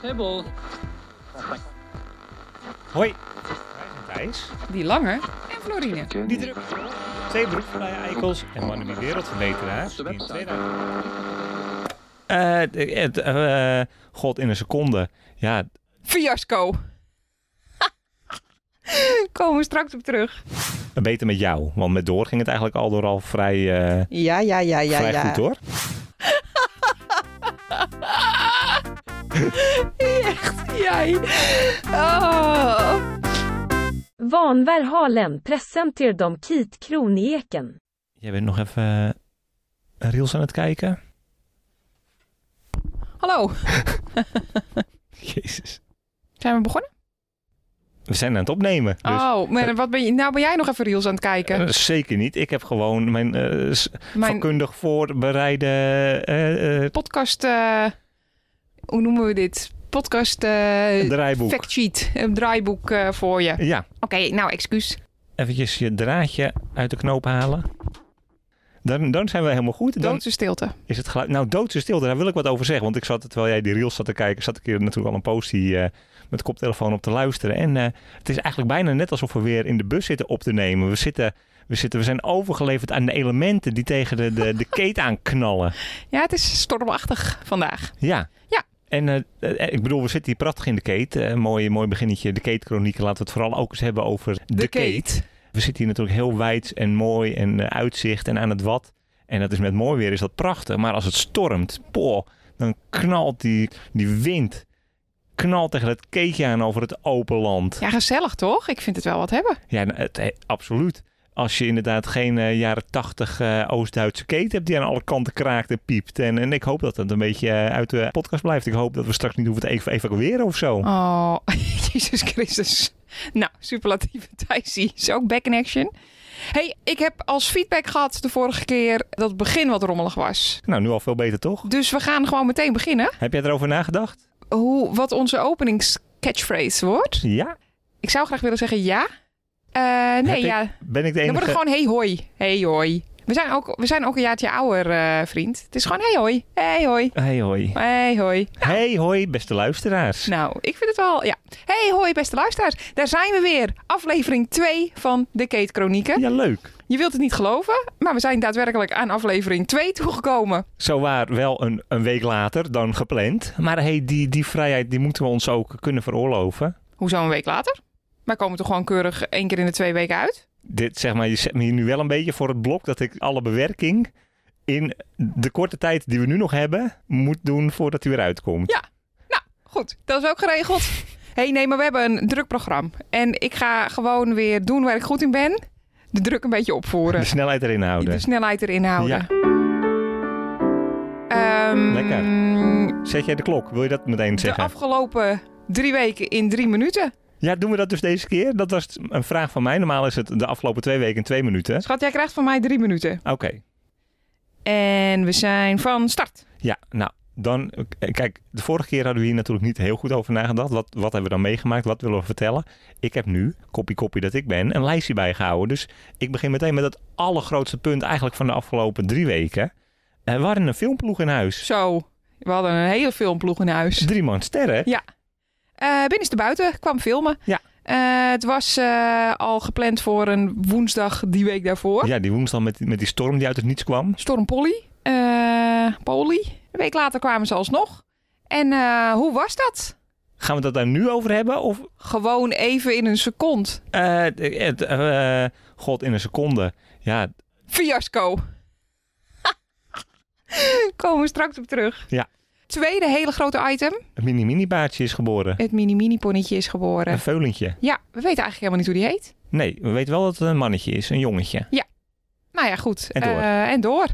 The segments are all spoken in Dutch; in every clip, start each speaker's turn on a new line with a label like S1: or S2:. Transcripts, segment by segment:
S1: Hebel.
S2: Hoi. Wij zijn Thijs.
S3: Die Lange en Florine.
S2: Dieter. Zeebroek, Vrije Eikels en Mannen die Wereldverbeteraars. Die in 2000 Eh, de- het, eh, eh, God, in een seconde. Ja,
S3: Fiasco. Komen we straks op terug.
S2: beter met jou. Want met Door ging het eigenlijk al door al vrij, eh,
S3: Ja, ja, ja, ja,
S2: vrij
S3: ja.
S2: goed hoor.
S3: Echt, jij. Oh.
S4: Vanvär Halen presenterar de Kit Kronieken.
S2: Jij bent nog even eh, een reels aan het kijken?
S3: Hallo,
S2: Jezus.
S3: zijn we begonnen?
S2: We zijn aan het opnemen. Dus.
S3: oh, maar wat ben je, nou ben jij nog even reels aan het kijken.
S2: Eh, Zeker niet. Ik heb gewoon mijn eh, s-
S3: Mijn
S2: vakkundig voorbereide eh, eh,
S3: podcast, eh, hoe noemen we dit? Podcast eh
S2: draaiboek.
S3: fact sheet, een draaiboek eh, voor je. Oké,
S2: Ja,
S3: nou excuus.
S2: eventjes je draadje uit de knoop halen. Dan, dan zijn we helemaal goed. Dan
S3: Doodse stilte.
S2: is het geluid... Nou, doodse stilte, daar wil ik wat over zeggen. Want ik zat, terwijl jij die reels zat te kijken, zat ik hier natuurlijk al een postie eh met koptelefoon op te luisteren. En eh, het is eigenlijk bijna net alsof we weer in de bus zitten op te nemen. We zitten... We, zitten, we zijn overgeleverd aan de elementen die tegen de, de, de keet aanknallen.
S3: Ja, het is stormachtig vandaag.
S2: Ja.
S3: Ja.
S2: En eh, eh, ik bedoel, we zitten hier prachtig in de Keet. Eh, mooi, mooi beginnetje, de Keet-chronieken. Laten we het vooral ook eens hebben over de, We zitten hier natuurlijk heel wijd en mooi en eh, uitzicht en aan het wat. En dat is met mooi weer is dat prachtig. Maar als het stormt, poh, dan knalt die, die wind knalt tegen dat keetje aan over het open land.
S3: Ja, gezellig toch? Ik vind het wel wat hebben.
S2: Ja, nou, het, eh, absoluut. Als je inderdaad geen eh, jaren tachtig eh, Oost-Duitse keten hebt die aan alle kanten kraakt en piept. En, en ik hoop dat dat een beetje eh, uit de podcast blijft. Ik hoop dat we straks niet hoeven te ev- evacueren of zo.
S3: Oh, Jezus Christus. Nou, superlatieve Thijsie is ook back in action. hey, ik heb als feedback gehad de vorige keer dat het begin wat rommelig was.
S2: Nou, nu al veel beter toch?
S3: Dus we gaan gewoon meteen beginnen.
S2: Heb jij erover nagedacht?
S3: Hoe, wat onze openingscatchphrase wordt.
S2: Ja?
S3: Ik zou graag willen zeggen ja. Eh,
S2: Heb
S3: nee,
S2: ik
S3: ja.
S2: Ben ik de
S3: Dan
S2: enige?
S3: wordt het gewoon hey hoi. Hey hoi. We zijn ook, we zijn ook een jaartje ouder, eh, vriend. Het is gewoon hey hoi. Hey hoi.
S2: Hey hoi.
S3: Hey hoi.
S2: Hey hoi, beste luisteraars.
S3: Nou, ik vind het wel, ja. Hey, hoi beste luisteraars. Daar zijn we weer. Aflevering 2 van de Kate Chronieken.
S2: Ja, leuk.
S3: Je wilt het niet geloven, maar we zijn daadwerkelijk aan aflevering 2 toegekomen.
S2: Zo waar wel een, een week later dan gepland. Maar hey, die, die vrijheid die moeten we ons ook kunnen veroorloven.
S3: Hoezo een week later? Wij komen toch gewoon keurig één keer in de twee weken uit?
S2: dit, zeg maar, je zet me hier nu wel een beetje voor het blok dat ik alle bewerking in de korte tijd die we nu nog hebben, moet doen voordat hij weer uitkomt.
S3: Ja. Goed, dat is ook geregeld. hey, nee, maar we hebben een druk programma. En ik ga gewoon weer doen waar ik goed in ben. De druk een beetje opvoeren.
S2: De snelheid erin houden.
S3: De snelheid erin houden. Ehm,
S2: Lekker.
S3: Lekker.
S2: Zet jij de klok? Wil je dat meteen
S3: De
S2: zeggen?
S3: afgelopen drie weken in drie minuten.
S2: Ja, doen we dat dus deze keer? Dat was een vraag van mij. Normaal is het de afgelopen twee weken in twee minuten.
S3: Schat, jij krijgt van mij drie minuten.
S2: Oké.
S3: En we zijn van start.
S2: Ja, nou, dan... eh, Kijk, de vorige keer hadden we hier natuurlijk niet heel goed over nagedacht. Wat, wat hebben we dan meegemaakt? Wat willen we vertellen? Ik heb nu, kopie kopie dat ik ben, een lijstje bijgehouden. Dus ik begin meteen met het allergrootste punt eigenlijk van de afgelopen drie weken. Eh, we hadden een filmploeg in huis.
S3: Zo, we hadden een hele filmploeg in huis.
S2: Drie man sterren.
S3: Ja. Eh binnenste buiten kwam filmen.
S2: Ja.
S3: Eh, het was eh, al gepland voor een woensdag die week daarvoor.
S2: Ja, die woensdag met, met die storm die uit het niets kwam.
S3: Storm Polly. Eh, Polly. Een week later kwamen ze alsnog. En eh, hoe was dat?
S2: Gaan we dat daar nu over hebben? Of
S3: Gewoon even in een seconde.
S2: eh, het, eh, eh, god, in een seconde. Ja,
S3: Fiasco. Komen we straks op terug.
S2: Ja.
S3: Tweede hele grote item.
S2: een mini-mini-baardje is geboren.
S3: Het mini-mini-ponnetje is
S2: Een
S3: geboren.
S2: veulentje.
S3: Ja, we weten eigenlijk helemaal niet hoe die heet.
S2: Nee, we weten wel dat het een mannetje is. Een jongetje.
S3: Nou ja, goed.
S2: En door.
S3: Eh, en door.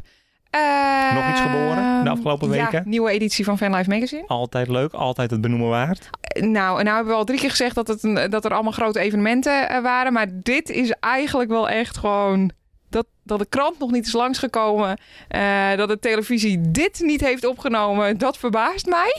S3: Eh,
S2: Nog iets geboren de afgelopen
S3: Ja,
S2: weken?
S3: nieuwe editie van Fanlife Magazine.
S2: Altijd leuk, altijd het benoemen waard.
S3: Eh, Nou, en nou hebben we al drie keer gezegd dat, het een- dat er allemaal grote evenementen eh, waren. Maar dit is eigenlijk wel echt gewoon... Dat, dat de krant nog niet is langsgekomen. eh, dat de televisie dit niet heeft opgenomen. Dat verbaast mij.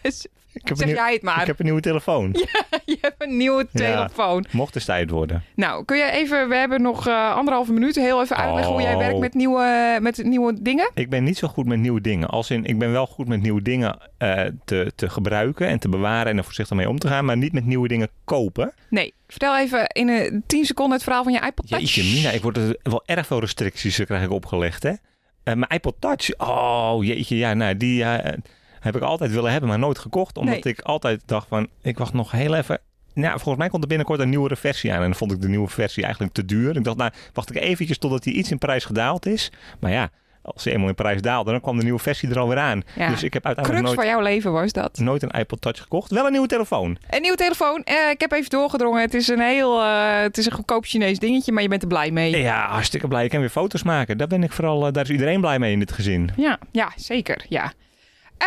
S3: Dus
S2: Ik heb, een,
S3: Zeg
S2: nieuw-
S3: jij het maar.
S2: ik heb een nieuwe telefoon.
S3: Je hebt een nieuwe
S2: Ja.
S3: telefoon.
S2: Mocht het tijd worden.
S3: Nou, kun jij even... We hebben nog eh, anderhalve minuut. Heel even uitleggen hoe jij
S2: Oh.
S3: werkt met nieuwe, met nieuwe dingen.
S2: Ik ben niet zo goed met nieuwe dingen. Als in, ik ben wel goed met nieuwe dingen eh, te, te gebruiken en te bewaren en er voorzichtig mee om te gaan. Maar niet met nieuwe dingen kopen.
S3: Nee, vertel even in eh, 10 seconden het verhaal van je iPod Touch.
S2: Jeetje mina, ik word er wel erg veel restricties eh, krijg ik opgelegd hè. Eh, mijn iPod Touch, oh jeetje, ja nou die eh, heb ik altijd willen hebben, maar nooit gekocht. Omdat
S3: Nee.
S2: ik altijd dacht van, ik wacht nog heel even. Nou, volgens mij komt er binnenkort een nieuwere versie aan. En dan vond ik de nieuwe versie eigenlijk te duur. Ik dacht, nou, wacht ik eventjes totdat die iets in prijs gedaald is. Maar ja, als die eenmaal in prijs daalde, dan kwam de nieuwe versie er alweer aan.
S3: Ja.
S2: Dus ik heb
S3: Crux
S2: uiteindelijk nooit,
S3: van jouw leven was dat.
S2: nooit een iPod Touch gekocht. Wel een nieuwe telefoon.
S3: Een nieuwe telefoon. Eh, ik heb even doorgedrongen. Het is een heel... eh, het is een goedkoop Chinees dingetje, maar je bent er blij mee.
S2: Ja, hartstikke blij. Ik kan weer foto's maken. Daar ben ik vooral, eh, daar is iedereen blij mee in dit gezin.
S3: Ja, ja zeker. Ja.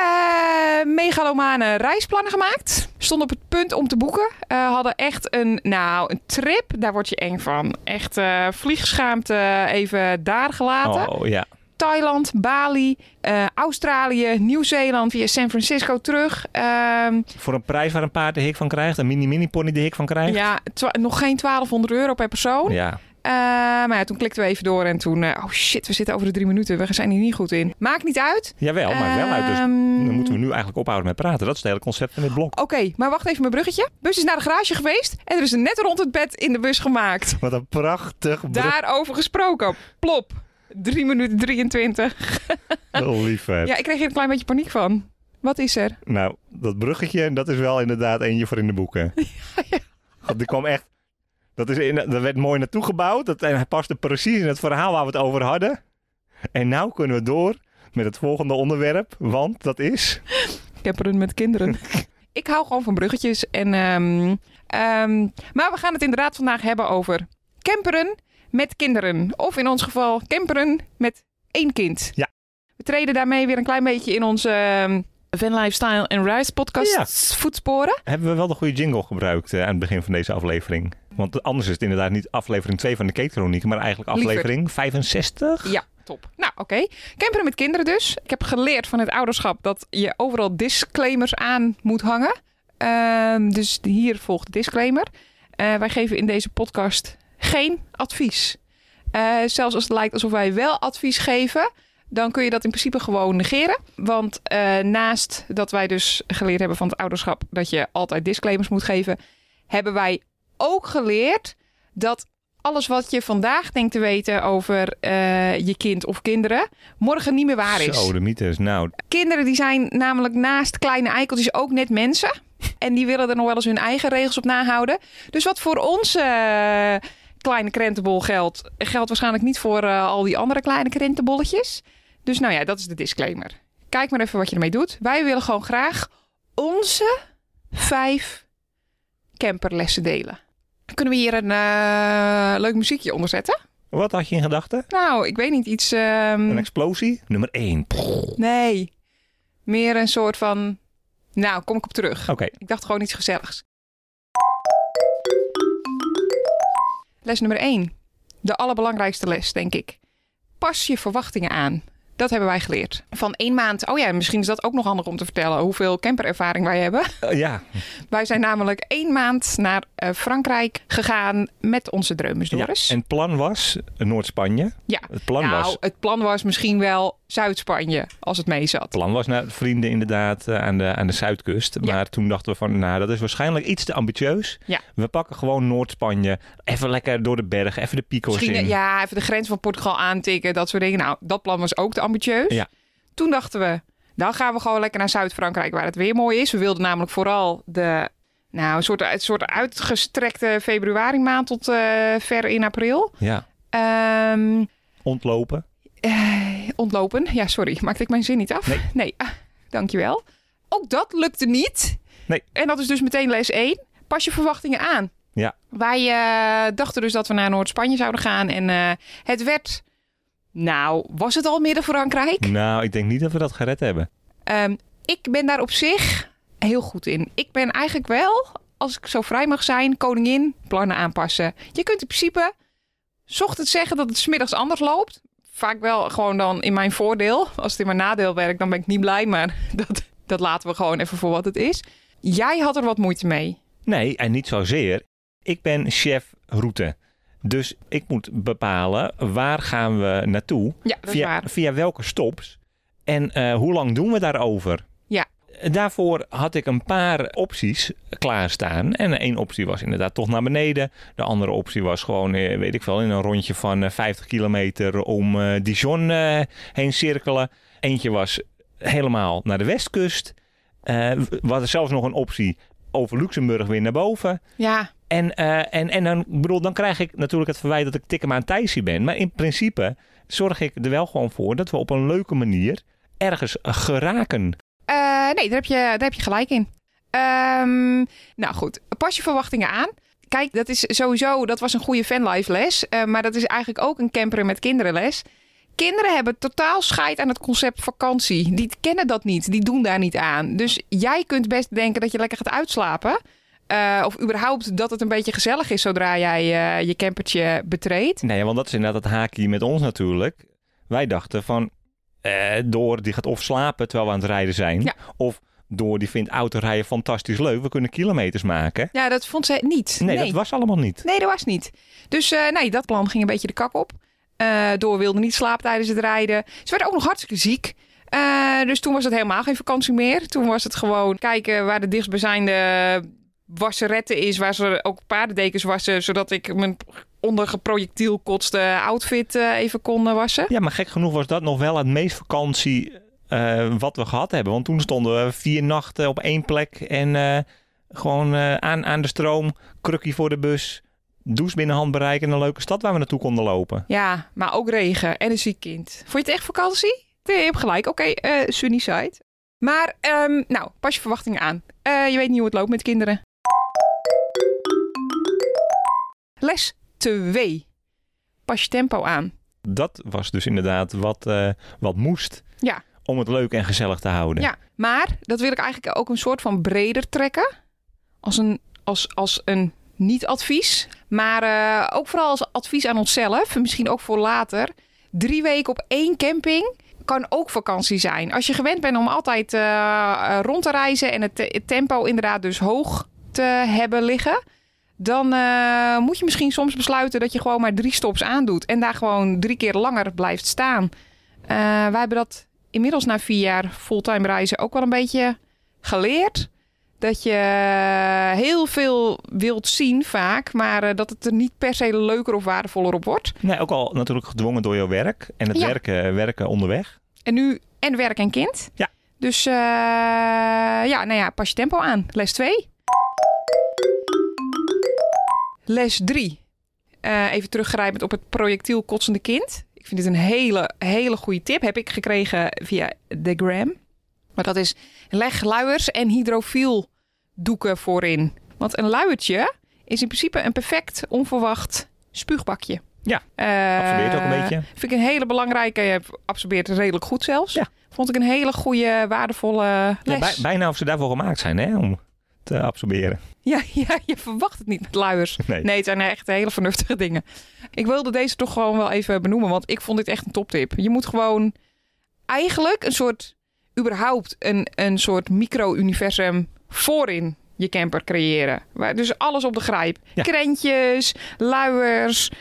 S3: Eh, megalomane reisplannen gemaakt. Stond op het punt om te boeken. Eh, hadden echt een, nou, een trip. Daar word je eng van. Echt eh, vliegschaamte even daar gelaten.
S2: Oh ja.
S3: Thailand, Bali, eh, Australië, Nieuw-Zeeland via San Francisco terug. Ehm,
S2: Voor een prijs waar een paard de hik van krijgt. Een mini-mini pony de hik van krijgt.
S3: ja, twa- nog geen 1200 euro per persoon.
S2: Ja.
S3: Eh, maar ja, toen klikten we even door en toen... eh, oh shit, we zitten over de drie minuten. We zijn hier niet goed in. Maakt niet uit.
S2: Jawel, maar wel uit. Dus
S3: Ehm,
S2: dan moeten we nu eigenlijk ophouden met praten. Dat is het hele concept van dit blok.
S3: Oké, maar wacht even mijn bruggetje. Bus is naar de garage geweest en er is net rond het bed in de bus gemaakt.
S2: Wat een prachtig brug.
S3: Daarover gesproken. Plop. 3 minuten 23.
S2: Oh, lief. hè.
S3: Ja, ik kreeg hier een klein beetje paniek van. Wat is er?
S2: Nou, dat bruggetje, dat is wel inderdaad eentje voor in de boeken. God, die kwam echt... Dat, is in, dat werd mooi naartoe gebouwd. Dat, en hij paste precies in het verhaal waar we het over hadden. En nou kunnen we door met het volgende onderwerp. Want dat is...
S3: Ik heb er met kinderen. ik hou gewoon van bruggetjes. En, ehm, ehm, maar we gaan het inderdaad vandaag hebben over camperen met kinderen. Of in ons geval camperen met één kind.
S2: Ja.
S3: We treden daarmee weer een klein beetje in onze ehm, Van Lifestyle and Rise podcast voetsporen.
S2: Hebben we wel de goede jingle gebruikt eh, aan het begin van deze aflevering? Want anders is het inderdaad niet aflevering 2 van de Kate Chronieken, maar eigenlijk
S3: Liever.
S2: aflevering 65.
S3: Ja, top. Nou, oké. Camperen met kinderen dus. Ik heb geleerd van het ouderschap dat je overal disclaimers aan moet hangen. Ehm, dus hier volgt de disclaimer. Eh, wij geven in deze podcast geen advies. Eh, zelfs als het lijkt alsof wij wel advies geven, dan kun je dat in principe gewoon negeren. Want eh, naast dat wij dus geleerd hebben van het ouderschap dat je altijd disclaimers moet geven, hebben wij ook geleerd dat alles wat je vandaag denkt te weten over eh, je kind of kinderen, morgen niet meer waar is.
S2: Zo, de mythes. Nou,
S3: Kinderen die zijn namelijk naast kleine eikeltjes ook net mensen. En die willen er nog wel eens hun eigen regels op nahouden. Dus wat voor onze eh, kleine krentenbol geldt, geldt waarschijnlijk niet voor eh, al die andere kleine krentenbolletjes. Dus nou ja, dat is de disclaimer. Kijk maar even wat je ermee doet. Wij willen gewoon graag onze vijf camperlessen delen. Kunnen we hier een eh, leuk muziekje onder zetten?
S2: wat had je in gedachten?
S3: Nou, ik weet niet, iets... ehm,
S2: Een explosie? Nummer 1. Oké.
S3: Nee. Meer een soort van. Nou, kom ik op terug. Ik dacht gewoon iets gezelligs. Les nummer 1. De allerbelangrijkste les, denk ik. Pas je verwachtingen aan. Dat hebben wij geleerd. Van één maand. Oh ja, misschien is dat ook nog handig om te vertellen hoeveel camperervaring wij hebben.
S2: Eh, ja,
S3: Wij zijn namelijk één maand naar eh, Frankrijk gegaan met onze dreumes
S2: ja.
S3: Doris.
S2: En het plan was eh, Noord-Spanje.
S3: Ja.
S2: Het plan
S3: nou,
S2: was...
S3: het plan was misschien wel Zuid-Spanje, als het mee zat.
S2: Het plan was naar vrienden inderdaad eh, aan de, aan de zuidkust.
S3: Ja.
S2: Maar toen dachten we van, nou, dat is waarschijnlijk iets te ambitieus.
S3: Ja.
S2: We pakken gewoon Noord-Spanje. Even lekker door de bergen, even de pico's
S3: Misschien
S2: in.
S3: eh, ja, even de grens van Portugal aantikken. Dat soort dingen. Nou, dat plan was ook te ambitieus.
S2: Ja.
S3: Toen dachten we, dan gaan we gewoon lekker naar Zuid-Frankrijk waar het weer mooi is. We wilden namelijk vooral de, nou, een soort, een soort uitgestrekte februari maand tot eh, ver in april.
S2: Ja.
S3: Ehm,
S2: Ontlopen.
S3: eh, ontlopen. Ja, sorry. Maakte ik mijn zin niet af?
S2: Nee.
S3: Ah, dankjewel. Ook dat lukte niet.
S2: Nee.
S3: En dat is dus meteen les 1. Pas je verwachtingen aan.
S2: Ja.
S3: Wij eh, dachten dus dat we naar Noord-Spanje zouden gaan. En eh, het werd... Nou, was het al midden Frankrijk?
S2: Nou, ik denk niet dat we dat gered hebben.
S3: Ehm, ik ben daar op zich heel goed in. Ik ben eigenlijk wel, als ik zo vrij mag zijn, koningin plannen aanpassen. Je kunt in principe 's ochtends zeggen dat het 's middags anders loopt. Vaak wel gewoon dan in mijn voordeel. Als het in mijn nadeel werkt, dan ben ik niet blij. Maar dat, dat laten we gewoon even voor wat het is. Jij had er wat moeite mee.
S2: Nee, en niet zozeer. Ik ben chef route. Dus ik moet bepalen waar gaan we naartoe,
S3: Ja, dat is
S2: via,
S3: waar.
S2: via welke stops en eh, hoe lang doen we daarover.
S3: Ja.
S2: Daarvoor had ik een paar opties klaarstaan. En één optie was inderdaad toch naar beneden. De andere optie was gewoon, eh, weet ik wel, in een rondje van eh, 50 kilometer om eh, Dijon eh, heen cirkelen. Eentje was helemaal naar de westkust. Eh we hadden zelfs nog een optie over Luxemburg weer naar boven.
S3: Ja,
S2: En, eh, en, en dan, ik bedoel, dan krijg ik natuurlijk het verwijt dat ik tikkema aan Thijsie ben. Maar in principe zorg ik er wel gewoon voor dat we op een leuke manier ergens geraken.
S3: Eh, nee, daar heb, je, daar heb je gelijk in. Ehm, nou goed, pas je verwachtingen aan. Kijk, dat is sowieso, dat was een goede fanlife les. eh, maar dat is eigenlijk ook een camperen met kinderen les. Kinderen hebben totaal scheid aan het concept vakantie. Die kennen dat niet, die doen daar niet aan. Dus jij kunt best denken dat je lekker gaat uitslapen. Eh, of überhaupt dat het een beetje gezellig is zodra jij eh, je campertje betreedt.
S2: Nee, want dat is inderdaad het haakje met ons natuurlijk. Wij dachten van, eh, Door die gaat of slapen terwijl we aan het rijden zijn.
S3: Ja.
S2: Of Door die vindt autorijden fantastisch leuk. We kunnen kilometers maken.
S3: Ja, dat vond ze niet.
S2: Nee, dat was allemaal niet.
S3: Nee, dat was niet. Dus eh, nee, dat plan ging een beetje de kak op. Eh, door wilde niet slapen tijdens het rijden. Ze werden ook nog hartstikke ziek. Eh, dus toen was het helemaal geen vakantie meer. Toen was het gewoon kijken waar de dichtstbijzijnde wasseretten is. Waar ze ook paardendekens wassen. Zodat ik mijn ondergeprojectiel kotste outfit eh, even kon eh, wassen.
S2: Ja, maar gek genoeg was dat nog wel het meest vakantie eh, wat we gehad hebben. Want toen stonden we vier nachten op één plek en eh, gewoon eh, aan, aan de stroom, krukkie voor de bus, douche binnen handbereik en een leuke stad waar we naartoe konden lopen.
S3: Ja, maar ook regen en een ziek kind. Vond je het echt vakantie? Nee, je hebt gelijk. Oké, eh, sunny side. Maar, ehm, nou, pas je verwachtingen aan. Eh, je weet niet hoe het loopt met kinderen. Les 2. Pas je tempo aan.
S2: Dat was dus inderdaad wat, eh, wat moest
S3: Ja.
S2: om het leuk en gezellig te houden.
S3: Ja, maar dat wil ik eigenlijk ook een soort van breder trekken. Als een, als, als een niet-advies. Maar eh, ook vooral als advies aan onszelf. en Misschien ook voor later. Drie weken op één camping kan ook vakantie zijn. Als je gewend bent om altijd eh, eh, rond te reizen en het, te- het tempo inderdaad dus hoog te hebben liggen. Dan eh, moet je misschien soms besluiten dat je gewoon maar drie stops aandoet. En daar gewoon drie keer langer blijft staan. Eh, wij hebben dat inmiddels na vier jaar fulltime reizen ook wel een beetje geleerd. Dat je eh, heel veel wilt zien vaak, maar eh, dat het er niet per se leuker of waardevoller op wordt.
S2: Nee, ook al natuurlijk gedwongen door jouw werk en het
S3: Ja.
S2: werken, eh, werken onderweg.
S3: En nu en werk en kind.
S2: Ja.
S3: Dus eh, ja, nou ja, pas je tempo aan. Les 2. Les 3. even teruggrijpend op het projectiel kotsende kind. Ik vind dit een hele, hele goede tip. Heb ik gekregen via de gram. Maar dat is leg luiers en hydrofiel doeken voorin. Want een luiertje is in principe een perfect onverwacht spuugbakje.
S2: Ja,
S3: Eh,
S2: Absorbeert ook een beetje.
S3: Vind ik een hele belangrijke. Je absorbeert redelijk goed zelfs.
S2: Ja.
S3: Vond ik een hele goede, waardevolle les.
S2: Ja, bij- bijna of ze daarvoor gemaakt zijn hè, om te absorberen.
S3: Ja, ja, je verwacht het niet met luiers.
S2: Nee.
S3: Nee, het zijn echt hele vernuftige dingen. Ik wilde deze toch gewoon wel even benoemen, want ik vond dit echt een toptip. Je moet gewoon eigenlijk een soort, überhaupt een, een soort micro-universum voorin je camper creëren. Waar, dus alles op de grijp.
S2: Ja.
S3: Krentjes, luiers,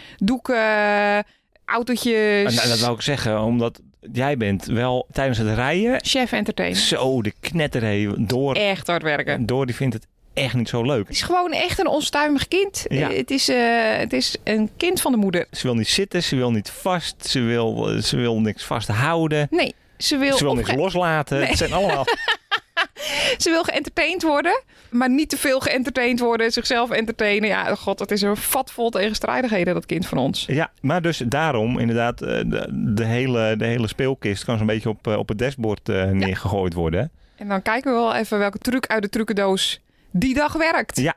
S3: doeken, autootjes.
S2: Nou, dat wou ik zeggen, omdat jij bent wel tijdens het rijden
S3: Chef entertainer.
S2: Zo, de knetter hé. Door,
S3: Echt hard werken.
S2: door die vindt het echt niet zo leuk.
S3: Het is gewoon echt een onstuimig kind.
S2: Ja.
S3: Eh, Het, is, eh, het is een kind van de moeder.
S2: Ze wil niet zitten, ze wil niet vast, ze wil, eh, ze wil niks vasthouden.
S3: Nee, ze wil,
S2: Ze wil niks
S3: opge-
S2: loslaten.
S3: Nee.
S2: Het zijn allemaal.
S3: ze wil geëntertaind worden, maar niet te veel geëntertaind worden. Zichzelf entertainen. Ja, god, dat is een vat vol tegenstrijdigheden, dat kind van ons.
S2: Ja, maar dus daarom inderdaad, eh, de, de hele, de hele speelkist kan zo'n beetje op, eh, op het dashboard eh, neergegooid worden.
S3: En dan kijken we wel even welke truc uit de trucendoos die dag werkt.
S2: Ja.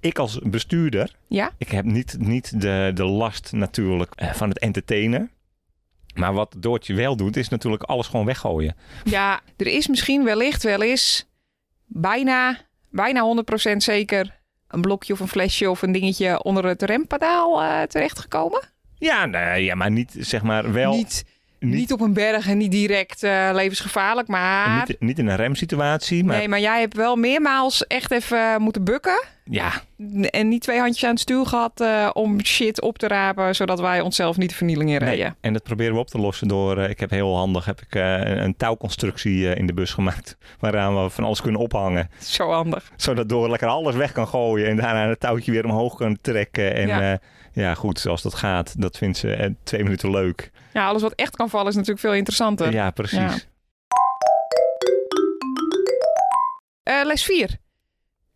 S2: Ik als bestuurder,
S3: Ja?
S2: ik heb niet, niet de, de last natuurlijk eh, van het entertainen. Maar wat Doortje wel doet, is natuurlijk alles gewoon weggooien.
S3: Ja, er is misschien wellicht wel eens bijna, bijna 100% zeker een blokje of een flesje of een dingetje onder het rempadaal eh, terechtgekomen.
S2: Ja, nee, ja maar niet zeg maar wel.
S3: Niet
S2: Niet,
S3: Niet op een berg en niet direct eh, levensgevaarlijk, maar...
S2: niet, niet in een remsituatie, maar
S3: Nee, maar jij hebt wel meermaals echt even eh, moeten bukken.
S2: ja,
S3: En niet twee handjes aan het stuur gehad eh, om shit op te rapen, zodat wij onszelf niet de vernieling in
S2: nee.
S3: reden.
S2: En dat proberen we op te lossen door, eh, ik heb heel handig, heb ik eh, een, een touwconstructie eh, in de bus gemaakt. Waaraan we van alles kunnen ophangen.
S3: Zo handig.
S2: Zodat door lekker alles weg kan gooien en daarna het touwtje weer omhoog kan trekken. En
S3: Ja.
S2: ja, ja goed, zoals dat gaat, dat vindt ze eh, twee minuten leuk.
S3: Ja, alles wat echt kan vallen is natuurlijk veel interessanter.
S2: Ja, precies.
S3: Ja. Eh, les 4.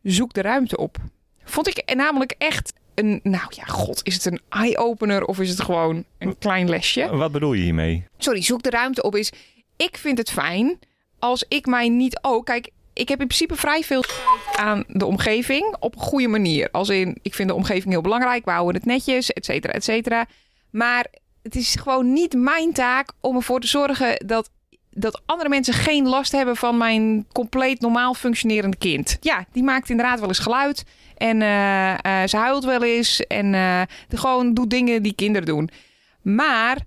S3: Zoek de ruimte op. Vond ik namelijk echt een... Nou ja, god, is het een eye-opener of is het gewoon een klein lesje?
S2: Wat bedoel je hiermee?
S3: sorry, zoek de ruimte op is. Ik vind het fijn als ik mij niet ook. Kijk, ik heb in principe vrij veel scheid aan de omgeving op een goede manier. Als in, ik vind de omgeving heel belangrijk, we houden het netjes, et cetera, et cetera. Maar het is gewoon niet mijn taak om ervoor te zorgen dat, dat andere mensen geen last hebben van mijn compleet normaal functionerende kind. Ja, die maakt inderdaad wel eens geluid en eh, eh, ze huilt wel eens en eh, de, gewoon doet dingen die kinderen doen. Maar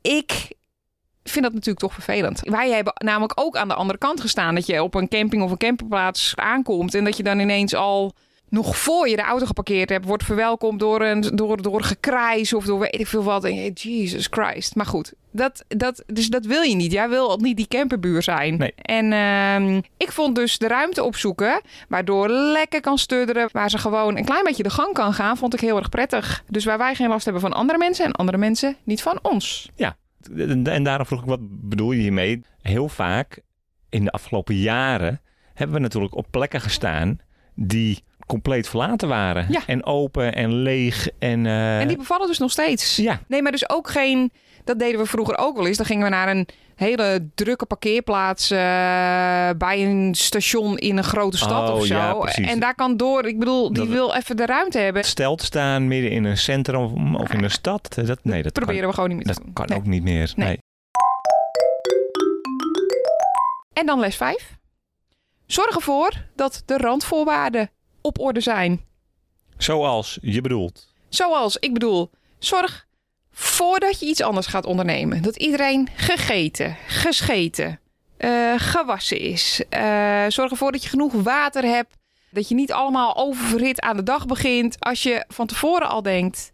S3: ik vind dat natuurlijk toch vervelend. Wij hebben namelijk ook aan de andere kant gestaan. Dat je op een camping of een camperplaats aankomt. En dat je dan ineens al nog voor je de auto geparkeerd hebt, wordt verwelkomd door een door, door gekrijs of door weet ik veel wat. En je, Jesus Christ. Maar goed, dat, dat, dus dat wil je niet. Jij wil niet die camperbuur zijn.
S2: Nee.
S3: En ehm, ik vond dus de ruimte opzoeken, waardoor lekker kan studderen, waar ze gewoon een klein beetje de gang kan gaan, vond ik heel erg prettig. Dus waar wij geen last hebben van andere mensen en andere mensen niet van ons.
S2: En en daarom vroeg ik, wat bedoel je hiermee? Heel vaak in de afgelopen jaren hebben we natuurlijk op plekken gestaan die compleet verlaten waren.
S3: Ja.
S2: En open en leeg. En, eh,
S3: En die bevallen dus nog steeds.
S2: ja,
S3: Nee, maar dus ook geen. Dat deden we vroeger ook wel eens. Dan gingen we naar een hele drukke parkeerplaats eh, bij een station in een grote stad
S2: Oh,
S3: of zo.
S2: ja, precies.
S3: en daar kan door. Ik bedoel, die
S2: Dat-
S3: wil even de ruimte hebben.
S2: stelt staan midden in een centrum of in een stad. Dat, nee, dat
S3: Proberen we gewoon niet meer
S2: kan,
S3: te
S2: dat
S3: doen.
S2: kan
S3: Nee.
S2: ook niet meer.
S3: Nee.
S2: Nee.
S3: En dan les 5. Zorg ervoor dat de randvoorwaarden op orde zijn.
S2: Zoals je bedoelt.
S3: Zoals, ik bedoel, zorg voordat je iets anders gaat ondernemen. Dat iedereen gegeten, gescheten, eh, gewassen is. Eh, zorg ervoor dat je genoeg water hebt. Dat je niet allemaal oververhit aan de dag begint. Als je van tevoren al denkt...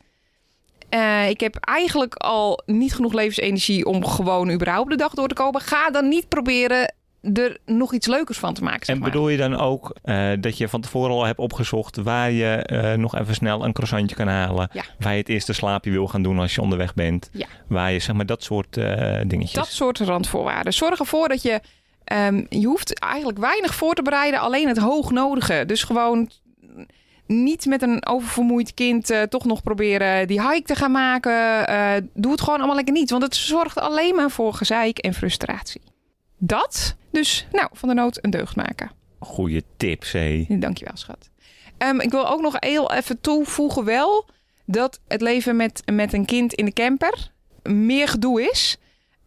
S3: eh, ik heb eigenlijk al niet genoeg levensenergie om gewoon überhaupt de dag door te komen. Ga dan niet proberen er nog iets leukers van te maken. Zeg
S2: En
S3: maar.
S2: bedoel je dan ook eh, dat je van tevoren al hebt opgezocht waar je eh, nog even snel een croissantje kan halen?
S3: Ja.
S2: Waar je het eerste slaapje wil gaan doen als je onderweg bent?
S3: Ja.
S2: Waar je zeg maar dat soort eh, dingetjes.
S3: Dat soort randvoorwaarden. Zorg ervoor dat je. ehm, je hoeft eigenlijk weinig voor te bereiden, alleen het hoognodige. Dus gewoon niet met een oververmoeid kind eh, toch nog proberen die hike te gaan maken. Eh, doe het gewoon allemaal lekker niet, want het zorgt alleen maar voor gezeik en frustratie. Dat, dus nou, van de nood een deugd maken.
S2: Goeie tips, hé.
S3: Dankjewel, schat. Ehm, ik wil ook nog heel even toevoegen wel dat het leven met, met een kind in de camper meer gedoe is.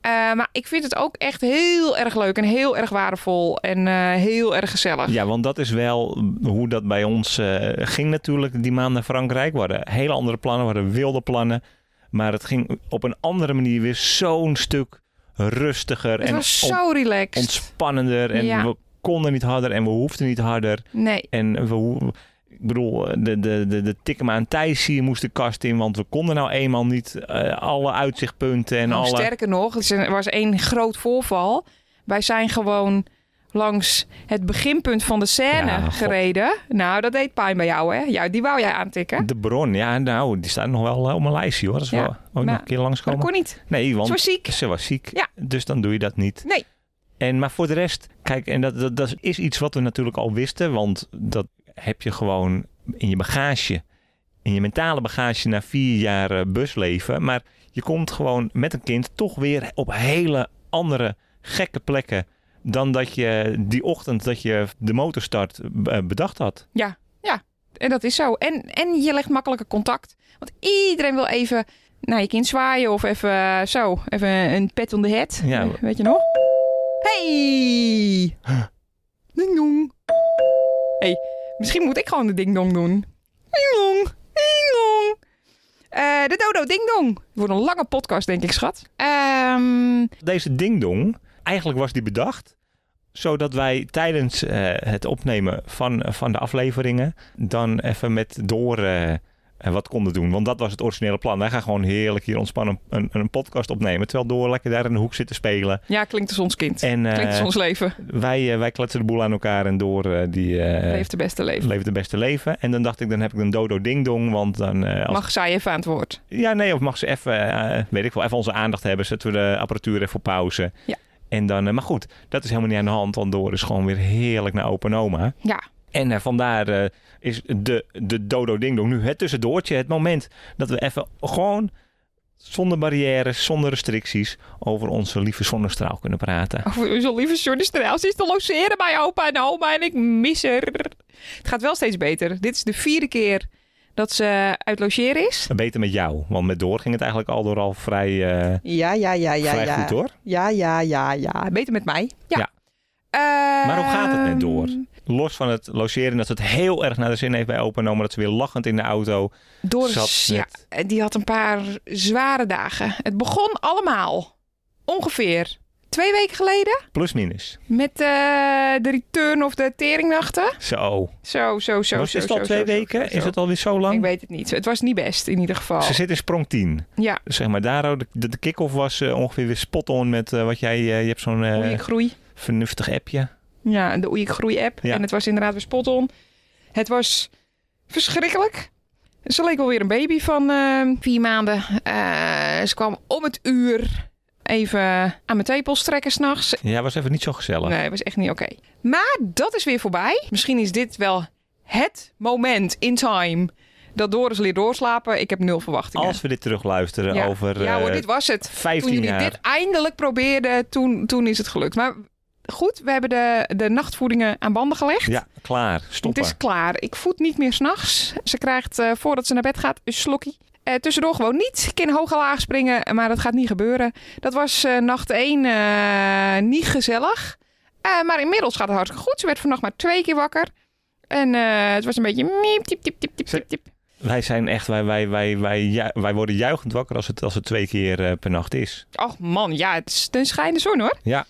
S3: Eh, maar ik vind het ook echt heel erg leuk en heel erg waardevol en eh, heel erg gezellig.
S2: Ja, want dat is wel hoe dat bij ons eh, ging natuurlijk die maand naar Frankrijk. We hadden hele andere plannen, we hadden wilde plannen. Maar het ging op een andere manier weer zo'n stuk rustiger
S3: het
S2: en
S3: was
S2: on-
S3: zo relaxed.
S2: ontspannender. En
S3: Ja.
S2: we konden niet harder en we hoefden niet harder.
S3: nee,
S2: En we, hoe- ik bedoel, de, de, de, de tikken maar aan Thijs hier moest de kast in. Want we konden nou eenmaal niet eh, alle uitzichtpunten en
S3: Nou,
S2: alle...
S3: sterker nog, het is een- er was één groot voorval. Wij zijn gewoon langs het beginpunt van de scène
S2: Ja, god.
S3: gereden. Nou, dat deed pijn bij jou, hè? Ja, die wou jij aantikken.
S2: De bron, ja, nou, die staat nog wel eh, op mijn lijstje hoor. Dat is
S3: Ja,
S2: wel ook nog
S3: maar-
S2: een keer
S3: Maar dat
S2: langskomen.
S3: kon niet.
S2: Nee, want
S3: Ze was ziek.
S2: Ze was ziek,
S3: Ja.
S2: dus dan doe je dat niet.
S3: Nee.
S2: En, maar voor de rest, kijk, en dat, dat, dat is iets wat we natuurlijk al wisten, want dat heb je gewoon in je bagage, in je mentale bagage na vier jaar eh, busleven. Maar je komt gewoon met een kind toch weer op hele andere gekke plekken dan dat je die ochtend dat je de motor start eh, bedacht had.
S3: En dat is zo. En, en je legt makkelijker contact. Want iedereen wil even naar je kind zwaaien of even eh, zo, even een pet on the head.
S2: Ja.
S3: Eh, Weet je nog? Hey! Ding dong. Hey, misschien moet ik gewoon de ding dong doen. Ding dong, ding dong. Eh, de dodo ding dong. Het wordt een lange podcast, denk ik, schat. Eh, Ehm,
S2: Deze dingdong, eigenlijk was die bedacht zodat wij tijdens eh, het opnemen van, van de afleveringen dan even met door eh, eh, wat konden doen. Want dat was het originele plan. Wij gaan gewoon heerlijk hier ontspannen een, een podcast opnemen. Terwijl door lekker daar in de hoek zit te spelen.
S3: ja, klinkt als ons kind.
S2: En eh,
S3: Klinkt als ons leven.
S2: wij, eh, wij kletsen de boel aan elkaar en door eh, die eh,
S3: Leeft de beste leven.
S2: leeft het beste leven. En dan dacht ik, dan heb ik een dodo ding dong. Want dan eh, als
S3: Mag zij even aan het woord.
S2: Ja, nee, of mag ze even, eh, weet ik wel, even onze aandacht hebben. Zetten we de apparatuur even op pauze.
S3: Ja.
S2: En dan, eh, maar goed, dat is helemaal niet aan de hand, want Door is gewoon weer heerlijk naar open oma.
S3: Ja.
S2: En eh, vandaar eh, is de, de dodo ding dong nu het tussendoortje, het moment dat we even gewoon zonder barrières, zonder restricties over onze lieve zonnestraal kunnen praten.
S3: Over zo'n lieve Johnny Straal. Ze is te logeren bij opa en oma en ik mis haar. Het gaat wel steeds beter. Dit is de vierde keer dat ze uit logeren is.
S2: Beter met jou, want met Door ging het eigenlijk al door al vrij, eh,
S3: Ja, ja, ja,
S2: vrij goed hoor.
S3: Ja, ja, ja, ja. Beter met mij. Ja. Ehm,
S2: Ja. Maar hoe gaat het net door? Los van het logeren dat ze het heel erg naar de zin heeft bij open oma, dat ze weer lachend in de auto
S3: Doris,
S2: zat
S3: ja,
S2: met-
S3: die had een paar zware dagen. Het begon allemaal ongeveer twee weken geleden
S2: Plus minus.
S3: met eh, de return of de teringnachten.
S2: Zo.
S3: Zo, zo, zo,
S2: Was
S3: zo.
S2: het al
S3: zo,
S2: twee
S3: zo, zo,
S2: weken?
S3: zo, zo.
S2: Is het alweer zo
S3: Ik
S2: lang?
S3: weet het niet. Het was niet best in ieder geval.
S2: Ze zit in sprong 10.
S3: Ja,
S2: Dus Zeg maar, daar, de, de kick-off was eh, ongeveer weer spot-on met eh, wat jij... eh, je hebt zo'n eh,
S3: Oei Ik Groei.
S2: vernuftig appje.
S3: Ja, de Oei Ik Groei app.
S2: Ja.
S3: En het was inderdaad weer spot on. Het was verschrikkelijk. Ze leek wel weer een baby van eh, vier maanden. Eh, ze kwam om het uur even aan mijn tepels trekken s'nachts.
S2: Ja, was even niet zo gezellig.
S3: Nee, was echt niet oké. Maar dat is weer voorbij. Misschien is dit wel het moment in time dat Doris leert doorslapen. Ik heb nul verwachtingen.
S2: Als we dit terugluisteren
S3: ja.
S2: over
S3: ja hoor,
S2: eh,
S3: dit was het. Toen
S2: 15
S3: jullie
S2: jaar.
S3: dit eindelijk probeerden, toen, toen is het gelukt. Maar goed, we hebben de, de nachtvoedingen aan banden gelegd.
S2: Ja, klaar. Stoppen.
S3: Het is klaar. Ik voed niet meer s'nachts. Ze krijgt, eh, voordat ze naar bed gaat, een slokkie. Eh, tussendoor gewoon niet. Ik kan hoog en laag springen, maar dat gaat niet gebeuren. Dat was eh, nacht één eh, niet gezellig. Eh, maar inmiddels gaat het hartstikke goed. Ze werd vannacht maar twee keer wakker. En eh, het was een beetje miep, tip, tip, tip, tip,
S2: Ze-
S3: tip, tip.
S2: Wij zijn echt... Wij, wij, wij, wij, ju- wij worden juichend wakker als het, als het twee keer eh, per nacht is.
S3: Och man, ja, het is een schijnende zon hoor.
S2: Ja.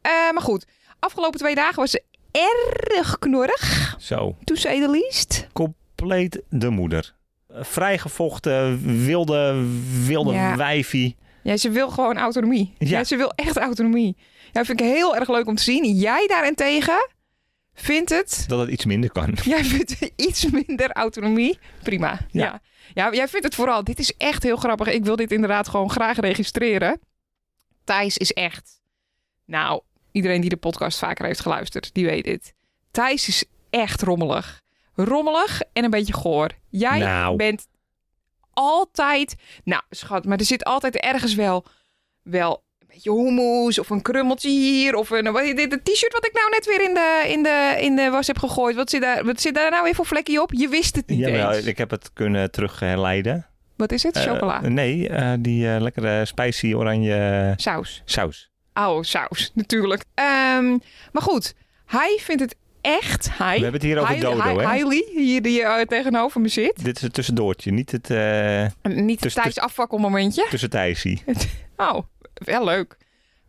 S3: Eh, maar goed, afgelopen twee dagen was ze erg knorrig.
S2: Zo.
S3: To say the least.
S2: Compleet de moeder. Eh, Vrijgevochten, wilde, wilde
S3: Ja.
S2: wijfie.
S3: Ja, ze wil gewoon autonomie. Ja.
S2: Ja.
S3: ze wil echt autonomie. Ja, vind ik heel erg leuk om te zien. Jij daarentegen vindt het...
S2: Dat het iets minder kan.
S3: Jij vindt iets minder autonomie. Prima. Ja.
S2: Ja.
S3: ja. jij vindt het vooral... Dit is echt heel grappig. Ik wil dit inderdaad gewoon graag registreren. Thijs is echt... Nou, iedereen die de podcast vaker heeft geluisterd, die weet dit. Thijs is echt rommelig. Rommelig en een beetje goor. Jij
S2: Nou.
S3: bent altijd... Nou, schat, maar er zit altijd ergens wel... wel een beetje hummus of een krummeltje hier of een wat- dit het t-shirt wat ik nou net weer in de, in de, in de was heb gegooid. Wat zit daar, wat zit daar nou weer voor vlekje op? Je wist het niet
S2: Jawel,
S3: eens.
S2: ik heb het kunnen terugherleiden.
S3: Wat is het? Chocola.
S2: Eh, nee, eh, die eh, lekkere spicy oranje
S3: saus.
S2: saus.
S3: Oude saus, natuurlijk. Ehm, maar goed, hij vindt het echt... Hij,
S2: We hebben het hier over
S3: hij,
S2: dodo,
S3: hij,
S2: hè?
S3: Hailey, hier die eh, tegenover me zit.
S2: Dit is het tussendoortje, niet het eh
S3: Niet
S2: Dus-
S3: Thijs afwakkelmomentje.
S2: tussentijsie.
S3: Oh, wel leuk.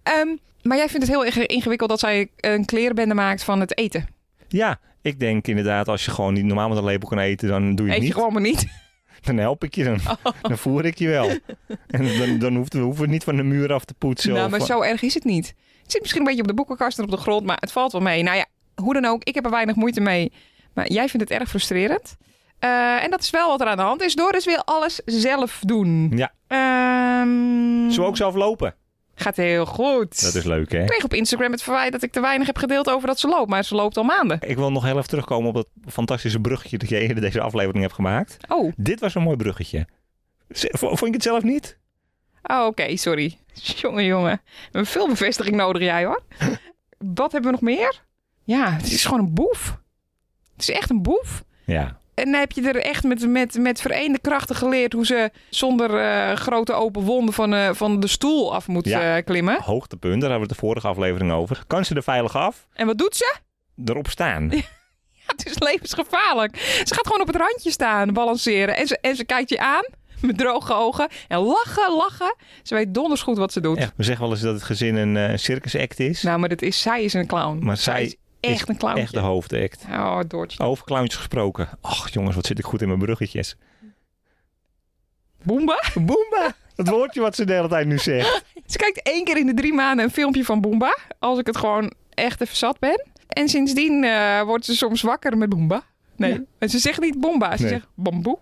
S3: Ehm, maar jij vindt het heel inge- ingewikkeld dat zij een klerenbende maakt van het eten.
S2: Ja, ik denk inderdaad, als je gewoon niet normaal met een lepel kan eten, dan doe je
S3: Eet
S2: het
S3: je
S2: niet.
S3: gewoon Oh. maar niet.
S2: Dan help ik je, dan, dan voer ik je wel. En dan, dan hoeft, we hoeven het niet van de muur af te poetsen.
S3: nou,
S2: of
S3: maar
S2: van-
S3: zo erg is het niet. Het zit misschien een beetje op de boekenkast en op de grond, maar het valt wel mee. Nou ja, hoe dan ook, ik heb er weinig moeite mee. Maar jij vindt het erg frustrerend. Eh, en dat is wel wat er aan de hand is. Doris wil alles zelf doen.
S2: Ja.
S3: Ehm,
S2: Zullen we ook zelf lopen?
S3: Gaat heel goed.
S2: Dat is leuk, hè?
S3: Ik kreeg op Instagram het verwijt dat ik te weinig heb gedeeld over dat ze loopt. Maar ze loopt al maanden.
S2: Ik wil nog heel even terugkomen op dat fantastische bruggetje dat jij eerder deze aflevering hebt gemaakt.
S3: Oh,
S2: Dit was een mooi bruggetje. Z- v- Vond je het zelf niet?
S3: oh oké, sorry. Jongen, jongen. We hebben Veel bevestiging nodig jij hoor. wat hebben we nog meer? Ja, het is gewoon een boef. Het is echt een boef.
S2: Ja.
S3: En dan heb je er echt met, met, met vereende krachten geleerd hoe ze zonder eh, grote open wonden van, eh, van de stoel af moet
S2: Ja.
S3: eh, klimmen.
S2: Hoogtepunt, daar hebben we het de vorige aflevering over. Kan ze er veilig af?
S3: En wat doet ze?
S2: erop staan.
S3: Ja, het is levensgevaarlijk. Ze gaat gewoon op het randje staan, balanceren. En ze, en ze kijkt je aan. met droge ogen. En lachen, lachen. Ze weet donders goed wat ze doet.
S2: Echt, we zeggen wel eens dat het gezin een eh, circusact is.
S3: Nou, maar dat is, zij is een clown.
S2: maar
S3: zij
S2: zij
S3: is echt een clown.
S2: echt de hoofdact.
S3: Oh, Doortje.
S2: Over clowns gesproken. Och jongens, wat zit ik goed in mijn bruggetjes.
S3: Boomba.
S2: Boomba! Dat woordje wat ze de hele tijd nu zegt.
S3: Ze kijkt één keer in de drie maanden een filmpje van Boomba. Als ik het gewoon echt even zat ben. En sindsdien eh, wordt ze soms wakker met Boomba. Nee, en ze zegt niet Boomba. Ze
S2: Nee.
S3: zegt bamboe.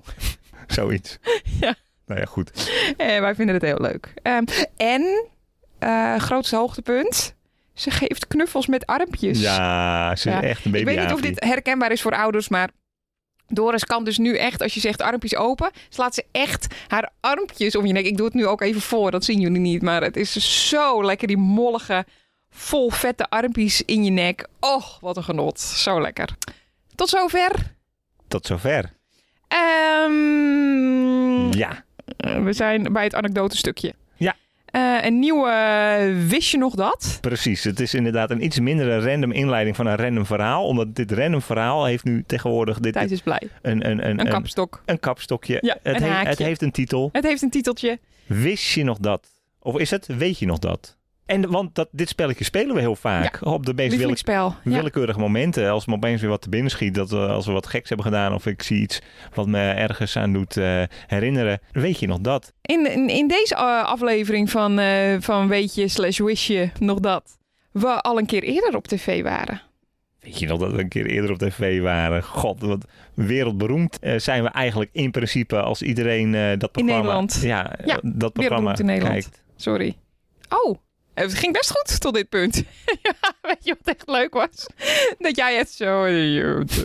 S2: Zoiets.
S3: Ja.
S2: Nou ja, goed.
S3: En Eh, wij vinden het heel leuk. Ehm, en, eh, grootste hoogtepunt, ze geeft knuffels met armpjes.
S2: Ja, ze
S3: Ja.
S2: is echt
S3: Ik
S2: een baby.
S3: weet niet of dit herkenbaar is voor ouders, maar Doris kan dus nu echt, als je zegt armpjes open, slaat ze echt haar armpjes om je nek. Ik doe het nu ook even voor, dat zien jullie niet, maar het is zo lekker die mollige, vol vette armpjes in je nek. Och, wat een genot. Zo lekker. Tot zover.
S2: Tot zover.
S3: Ehm
S2: Ja.
S3: eh, we zijn bij het anekdotestukje.
S2: Ja.
S3: Eh, een nieuwe eh, Wist je nog dat?
S2: Precies, het is inderdaad een iets mindere random inleiding van een random verhaal. Omdat dit random verhaal heeft nu tegenwoordig dit,
S3: Thijs is blij.
S2: een, een, een,
S3: Een
S2: een,
S3: kapstok.
S2: een kapstokje.
S3: Ja,
S2: het,
S3: een
S2: heeft-
S3: haakje.
S2: het heeft een titel.
S3: Het heeft een titeltje.
S2: Wist je nog dat? Of is het Weet je nog dat? En want dat, dit spelletje spelen we heel vaak. Op de meest wille-
S3: Lievelingsspel. Ja.
S2: willekeurige momenten. Als me opeens weer wat te binnen schiet. Dat, eh, als we wat geks hebben gedaan. Of ik zie iets wat me ergens aan doet eh, herinneren. Weet je nog dat?
S3: In, in, in deze eh, aflevering van, eh, van Weet je slash Wist je nog dat? We al een keer eerder op tv waren.
S2: Weet je nog dat we een keer eerder op tv waren? God, wat wereldberoemd eh, zijn we eigenlijk in principe als iedereen eh, dat programma...
S3: Nederland.
S2: Ja, eh,
S3: Ja,
S2: dat programma
S3: in Nederland.
S2: kijkt.
S3: Sorry. Oh, het ging best goed tot dit punt. Ja, Weet je wat echt leuk was? Dat jij het zo,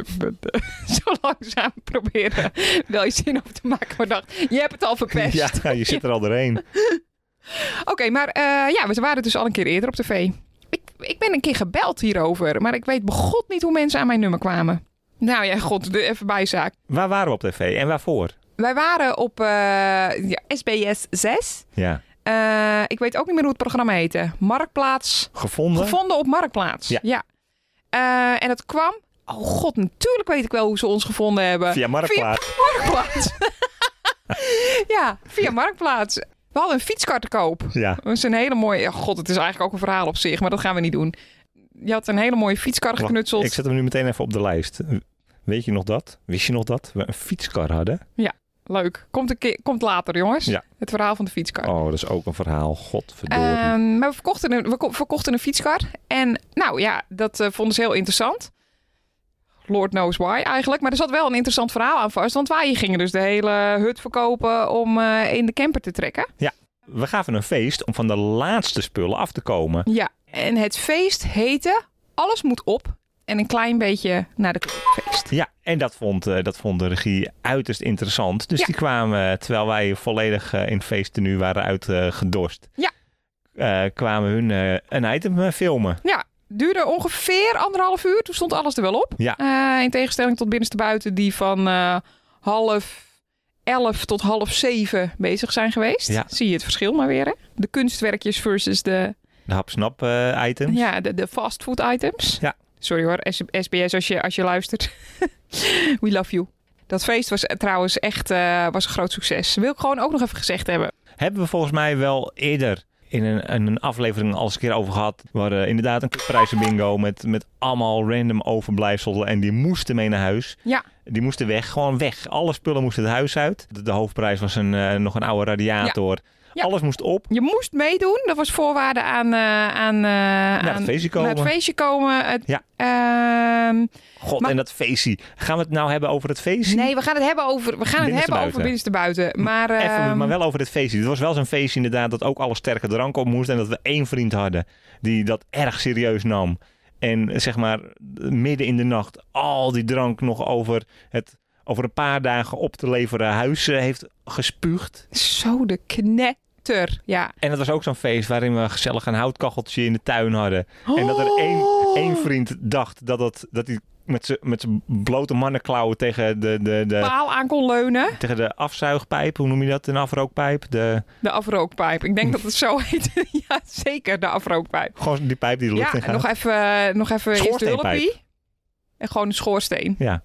S3: zo langzaam probeerde wel iets zin op te maken. Maar dacht, je hebt het al verpest.
S2: Ja, je zit er al doorheen.
S3: Oké, maar eh, ja, we waren dus al een keer eerder op tv. Ik, ik ben een keer gebeld hierover, maar ik weet begot niet hoe mensen aan mijn nummer kwamen. Nou ja, god, de- even bijzaak.
S2: Waar waren we op tv en waarvoor?
S3: Wij waren op eh, ja, SBS 6.
S2: Ja,
S3: Eh, ik weet ook niet meer hoe het programma heette. Marktplaats.
S2: gevonden?
S3: Gevonden op Marktplaats.
S2: Ja.
S3: Eh, en dat kwam... Oh god, natuurlijk weet ik wel hoe ze ons gevonden hebben.
S2: Via Marktplaats.
S3: Via Marktplaats. ja, via Marktplaats. We hadden een fietskar te koop.
S2: Ja,
S3: Dat is een hele mooie... Oh god, het is eigenlijk ook een verhaal op zich, maar dat gaan we niet doen. Je had een hele mooie fietskar
S2: Wacht,
S3: geknutseld.
S2: ik zet hem nu meteen even op de lijst. Weet je nog dat? Wist je nog dat we een fietskar hadden?
S3: Leuk. Komt, een keer, komt later, jongens.
S2: Ja.
S3: Het verhaal van de fietskar.
S2: Oh, dat is ook een verhaal. Godverdorie.
S3: Ehm, maar we verkochten, een, we ko- verkochten een fietskar. En nou ja, dat eh, vonden ze heel interessant. Lord knows why eigenlijk. Maar er zat wel een interessant verhaal aan vast. Want wij gingen dus de hele hut verkopen om eh, in de camper te trekken.
S2: We gaven een feest om van de laatste spullen af te komen.
S3: Ja. En het feest heette Alles moet op. En een klein beetje naar de feest.
S2: Ja, en dat vond, eh, dat vond de regie uiterst interessant. Dus
S3: Ja.
S2: die kwamen, eh, terwijl wij volledig eh, in feesttenu waren uitgedorst...
S3: Ja.
S2: eh, kwamen hun eh, een item eh, filmen.
S3: Duurde ongeveer anderhalf uur. Toen stond alles er wel op.
S2: Ja.
S3: Eh, in tegenstelling tot binnenste buiten die van eh, half elf tot half zeven bezig zijn geweest.
S2: Ja.
S3: Zie je het verschil maar weer. Hè? De kunstwerkjes versus de,
S2: De hapsnap eh items.
S3: ja, de, de fastfood items.
S2: Ja.
S3: Sorry hoor, S- SBS als je, als je luistert. We love you. Dat feest was eh, trouwens echt eh, was een groot succes. Wil ik gewoon ook nog even gezegd hebben.
S2: Hebben we volgens mij wel eerder in een, in een aflevering al eens een keer over gehad. Waar eh, inderdaad een prijzenbingo met, met allemaal random overblijfselen. En die moesten mee naar huis.
S3: Ja.
S2: Die moesten weg, gewoon weg. Alle spullen moesten het huis uit. De, de hoofdprijs was een, eh, nog een oude radiator.
S3: Ja.
S2: Alles moest op.
S3: Je moest meedoen. Dat was voorwaarde aan, eh, aan, eh,
S2: Naar
S3: aan
S2: het feestje
S3: naar
S2: komen.
S3: het feestje komen. Het-
S2: Ja.
S3: Ehm,
S2: God,
S3: Maar-
S2: en dat feestje. Gaan we het nou hebben over het feestje?
S3: Nee, we gaan het hebben over, we gaan het hebben
S2: Binnenstebuiten.
S3: over binnenstebuiten. Maar,
S2: Even,
S3: ehm,
S2: maar wel over het feestje. Het was wel zo'n feestje inderdaad dat ook alle sterke drank op moest. En dat we één vriend hadden die dat erg serieus nam. En eh, zeg maar midden in de nacht al die drank nog over, het, over een paar dagen op te leveren huis eh, heeft gespuugd.
S3: Zo de knetter. Ja.
S2: En dat was ook zo'n feest waarin we gezellig een houtkacheltje in de tuin hadden. En dat er één,
S3: Oh!
S2: één vriend dacht dat, dat, dat hij met zijn- met zijn blote mannenklauwen tegen de, de, de,
S3: paal aan kon leunen.
S2: tegen de afzuigpijp, hoe noem je dat? Een afrookpijp? De,
S3: De afrookpijp. Ik denk dat het zo heet. ja, zeker de afrookpijp.
S2: gewoon die pijp die de lucht
S3: Ja,
S2: in
S3: en
S2: gaat.
S3: nog even, nog even eerst de
S2: Schoorsteenpijp.
S3: hulpie. En gewoon een schoorsteen.
S2: Ja.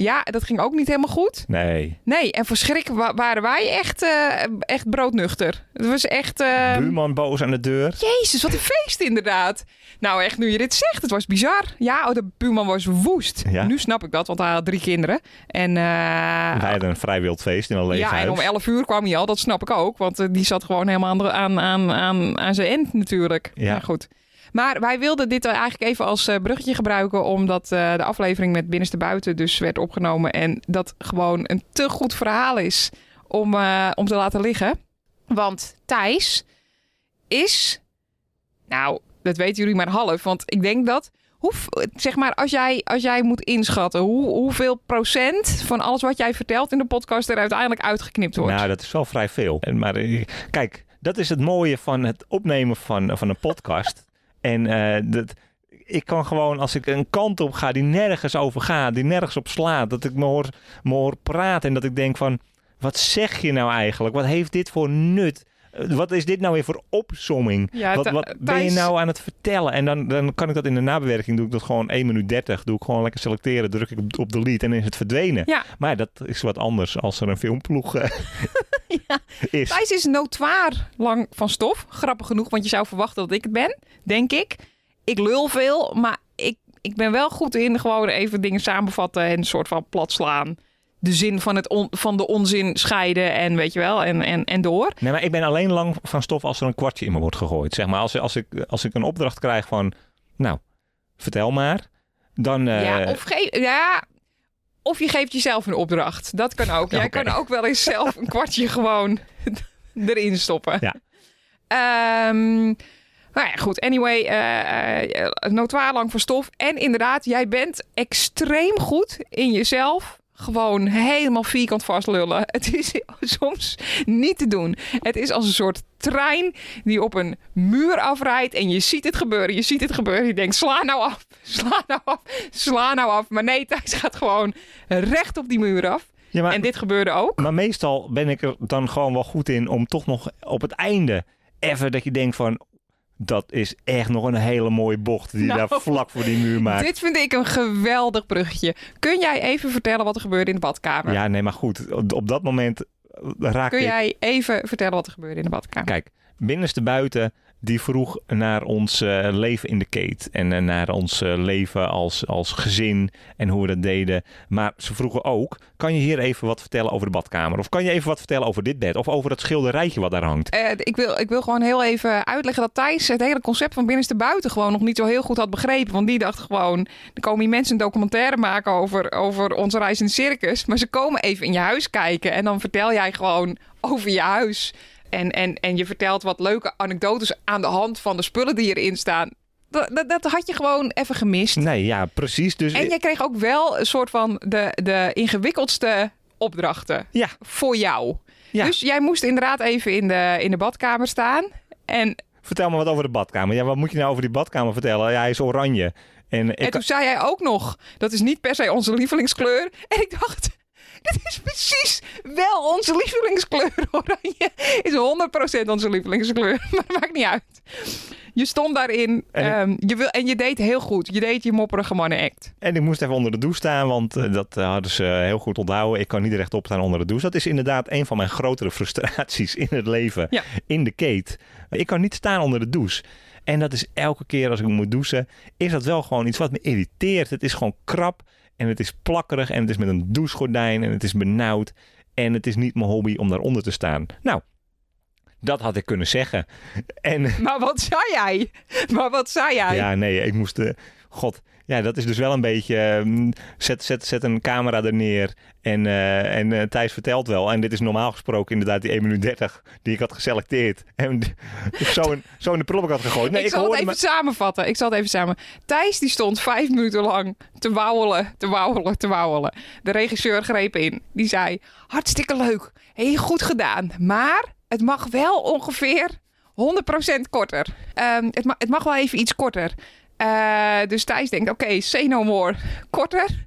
S3: Ja, dat ging ook niet helemaal goed.
S2: Nee.
S3: Nee, en voor schrik wa- waren wij echt, eh, echt broodnuchter. Het was echt... eh,
S2: Buurman boos aan de deur.
S3: Jezus, wat een feest inderdaad. Nou, echt, nu je dit zegt, het was bizar. Ja, oh, de buurman was woest.
S2: Ja.
S3: Nu snap ik dat, want hij had drie kinderen. En, eh,
S2: Wij hadden een vrij wild feest in een leeg
S3: ja,
S2: huis.
S3: en om 11 uur kwam hij al, dat snap ik ook. Want eh, die zat gewoon helemaal aan, de- aan, aan, aan, aan zijn end natuurlijk.
S2: Ja.
S3: Maar goed. Maar wij wilden dit eigenlijk even als eh, bruggetje gebruiken, omdat eh, de aflevering met Binnenste Buiten dus werd opgenomen. En dat gewoon een te goed verhaal is om, eh, om te laten liggen. Want Thijs is, nou, dat weten jullie maar half. Want ik denk dat, hoe, zeg maar, als jij, als jij moet inschatten hoe, hoeveel procent van alles wat jij vertelt in de podcast er uiteindelijk uitgeknipt wordt.
S2: Nou, dat is wel vrij veel. En Maar eh, kijk, dat is het mooie van het opnemen van, van een podcast. en eh, dat, ik kan gewoon, als ik een kant op ga die nergens over gaat, die nergens op slaat, dat ik me hoor, me hoor praten en dat ik denk van, wat zeg je nou eigenlijk? Wat heeft dit voor nut? Eh, Wat is dit nou weer voor opsomming?
S3: Ja,
S2: wat
S3: Th-
S2: wat ben je
S3: Thijs-
S2: nou aan het vertellen? En dan, dan kan ik dat in de nabewerking, doe ik dat gewoon 1 minuut 30. Doe ik gewoon lekker selecteren, druk ik op, op delete en dan is het verdwenen.
S3: Ja.
S2: Maar dat is wat anders als er een filmploeg eh, is.
S3: Thijs is notoir lang van stof. Grappig genoeg, want je zou verwachten dat ik het ben, denk ik. Ik lul veel, maar ik, ik ben wel goed in gewoon even dingen samenvatten en een soort van plat slaan. De zin van, het on- van de onzin scheiden en weet je wel, en, en, en door.
S2: Nee, maar ik ben alleen lang van stof als er een kwartje in me wordt gegooid. Zeg maar, als, als, ik, als ik een opdracht krijg van, nou, vertel maar. Dan, eh,
S3: ja, of geef, ja, of je geeft jezelf een opdracht. Dat kan ook. Jij
S2: Oké.
S3: kan ook wel eens zelf een kwartje gewoon erin stoppen.
S2: Ja.
S3: Ehm, nou ja, goed. Anyway, eh eh, notoir lang voor stof. En inderdaad, jij bent extreem goed in jezelf. Gewoon helemaal vierkant vastlullen. Het is soms niet te doen. Het is als een soort trein die op een muur afrijdt. En je ziet het gebeuren, je ziet het gebeuren. Je denkt, sla nou af, sla nou af, sla nou af. Maar nee, Thijs gaat gewoon recht op die muur af.
S2: ja, maar,
S3: En dit gebeurde ook.
S2: maar meestal ben ik er dan gewoon wel goed in om toch nog op het einde even dat je denkt van, dat is echt nog een hele mooie bocht die je
S3: Nou,
S2: daar vlak voor die muur maakt.
S3: Dit vind ik een geweldig bruggetje. Kun jij even vertellen wat er gebeurde in de badkamer?
S2: Ja, nee, maar goed, op, op dat moment eh, raak
S3: Kun
S2: ik
S3: jij even vertellen wat er gebeurde in de badkamer?
S2: Kijk, binnenste buiten die vroeg naar ons eh, leven in de keet en eh, naar ons eh, leven als, als gezin en hoe we dat deden. Maar ze vroegen ook, kan je hier even wat vertellen over de badkamer? Of kan je even wat vertellen over dit bed? Of over dat schilderijtje wat daar hangt?
S3: Eh, ik, wil, ik wil gewoon heel even uitleggen dat Thijs het hele concept van binnenste buiten gewoon nog niet zo heel goed had begrepen. Want die dacht gewoon, er komen hier mensen een documentaire maken over, over onze reis in het circus. Maar ze komen even in je huis kijken en dan vertel jij gewoon over je huis. En, en, en je vertelt wat leuke anekdotes aan de hand van de spullen die erin staan. Dat, dat, dat had je gewoon even gemist.
S2: Nee, ja, precies. Dus
S3: En jij kreeg ook wel een soort van de, de ingewikkeldste opdrachten
S2: Ja,
S3: voor jou.
S2: Ja.
S3: Dus jij moest inderdaad even in de, in de badkamer staan. En,
S2: vertel me wat over de badkamer. Ja, wat moet je nou over die badkamer vertellen? Ja, hij is oranje. En
S3: en
S2: ik,
S3: toen zei jij ook nog, dat is niet per se onze lievelingskleur. En ik dacht, dit is precies wel onze lievelingskleur. Oranje is 100% onze lievelingskleur. Maar maakt niet uit. Je stond daarin
S2: En ik-
S3: ehm, je wil, en je deed heel goed. Je deed je mopperige mannen act.
S2: en ik moest even onder de douche staan, want eh, dat eh, hadden ze eh, heel goed onthouden. Ik kan niet rechtop staan onder de douche. Dat is inderdaad een van mijn grotere frustraties in het leven.
S3: Ja.
S2: in de keet. Ik kan niet staan onder de douche. En dat is elke keer als ik moet douchen, is dat wel gewoon iets wat me irriteert. Het is gewoon krap en het is plakkerig en het is met een douchegordijn en het is benauwd. En het is niet mijn hobby om daaronder te staan. Nou, dat had ik kunnen zeggen. En
S3: Maar wat zei jij? Maar wat zei jij?
S2: ja, nee, ik moest. eh, God, ja, dat is dus wel een beetje. ehm, zet, zet, zet een camera er neer. En, eh, en eh, Thijs vertelt wel. En dit is normaal gesproken inderdaad die 1 minuut 30 die ik had geselecteerd. En d- ik zo in, zo in de prullenbak had gegooid. Nee,
S3: ik,
S2: ik,
S3: zal het
S2: hoorde
S3: even
S2: maar.
S3: samenvatten. Ik zal het even samen. Thijs die stond vijf minuten lang te wauwelen, te wauwelen, te wauwelen. De regisseur greep in. Die zei, hartstikke leuk. Heel goed gedaan. Maar het mag wel ongeveer 100% korter. Ehm, het, ma- het mag wel even iets korter. Eh, dus Thijs denkt, oké, say no more. Korter.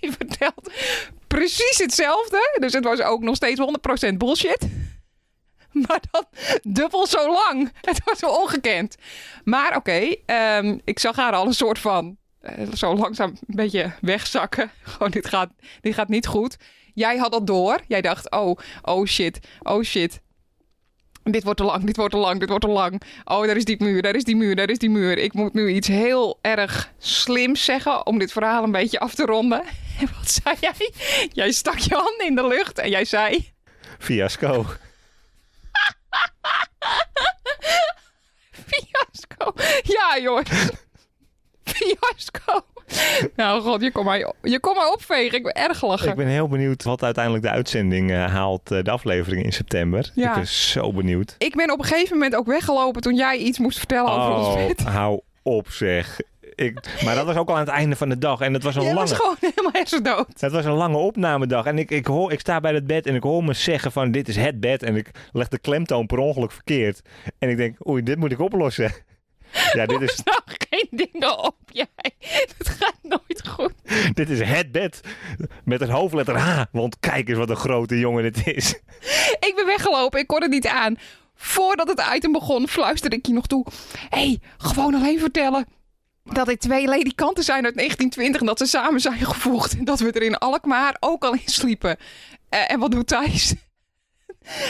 S3: Die vertelt precies hetzelfde. Dus het was ook nog steeds 100% bullshit. Maar dan dubbel zo lang. Het was wel ongekend. Maar oké, ehm, ik zag haar al een soort van eh, zo langzaam een beetje wegzakken. Gewoon, dit gaat, dit gaat niet goed. Jij had dat door. Jij dacht, oh, oh shit, oh shit. Dit wordt te lang, dit wordt te lang, dit wordt te lang. Oh, daar is die muur, daar is die muur, daar is die muur. Ik moet nu iets heel erg slims zeggen om dit verhaal een beetje af te ronden. En wat zei jij? Jij stak je handen in de lucht en jij zei...
S2: Fiasco.
S3: Fiasco. Ja, jongens. Fiasco. Nou, god, je kon mij, je kon mij opvegen. Ik ben erg gelachen.
S2: Ik ben heel benieuwd wat uiteindelijk de uitzending eh, haalt, eh, de aflevering in september.
S3: Ja.
S2: Ik ben zo benieuwd.
S3: Ik ben op een gegeven moment ook weggelopen toen jij iets moest vertellen over ons
S2: Oh,
S3: bed.
S2: hou op zeg. Ik, maar dat was ook al aan het einde van de dag en dat was een
S3: Jij was
S2: lange.
S3: gewoon helemaal hersendood.
S2: Het was een lange opnamedag en ik, ik, hoor, ik sta bij het bed en ik hoor me zeggen van dit is het bed en ik leg de klemtoon per ongeluk verkeerd. En ik denk, oei, dit moet ik oplossen. Ja, dit is,
S3: Nou, geen dingen op jij. Het gaat nooit goed.
S2: dit is het bed met een hoofdletter H, want kijk eens wat een grote jongen dit is.
S3: Ik ben weggelopen. Ik kon het niet aan. Voordat het item begon, fluisterde ik je nog toe. Hé, hey, gewoon alleen vertellen. Dat dit twee ledikanten zijn uit 1920 en dat ze samen zijn gevoegd. En dat we er in Alkmaar ook al in sliepen. Eh, en wat doet Thijs?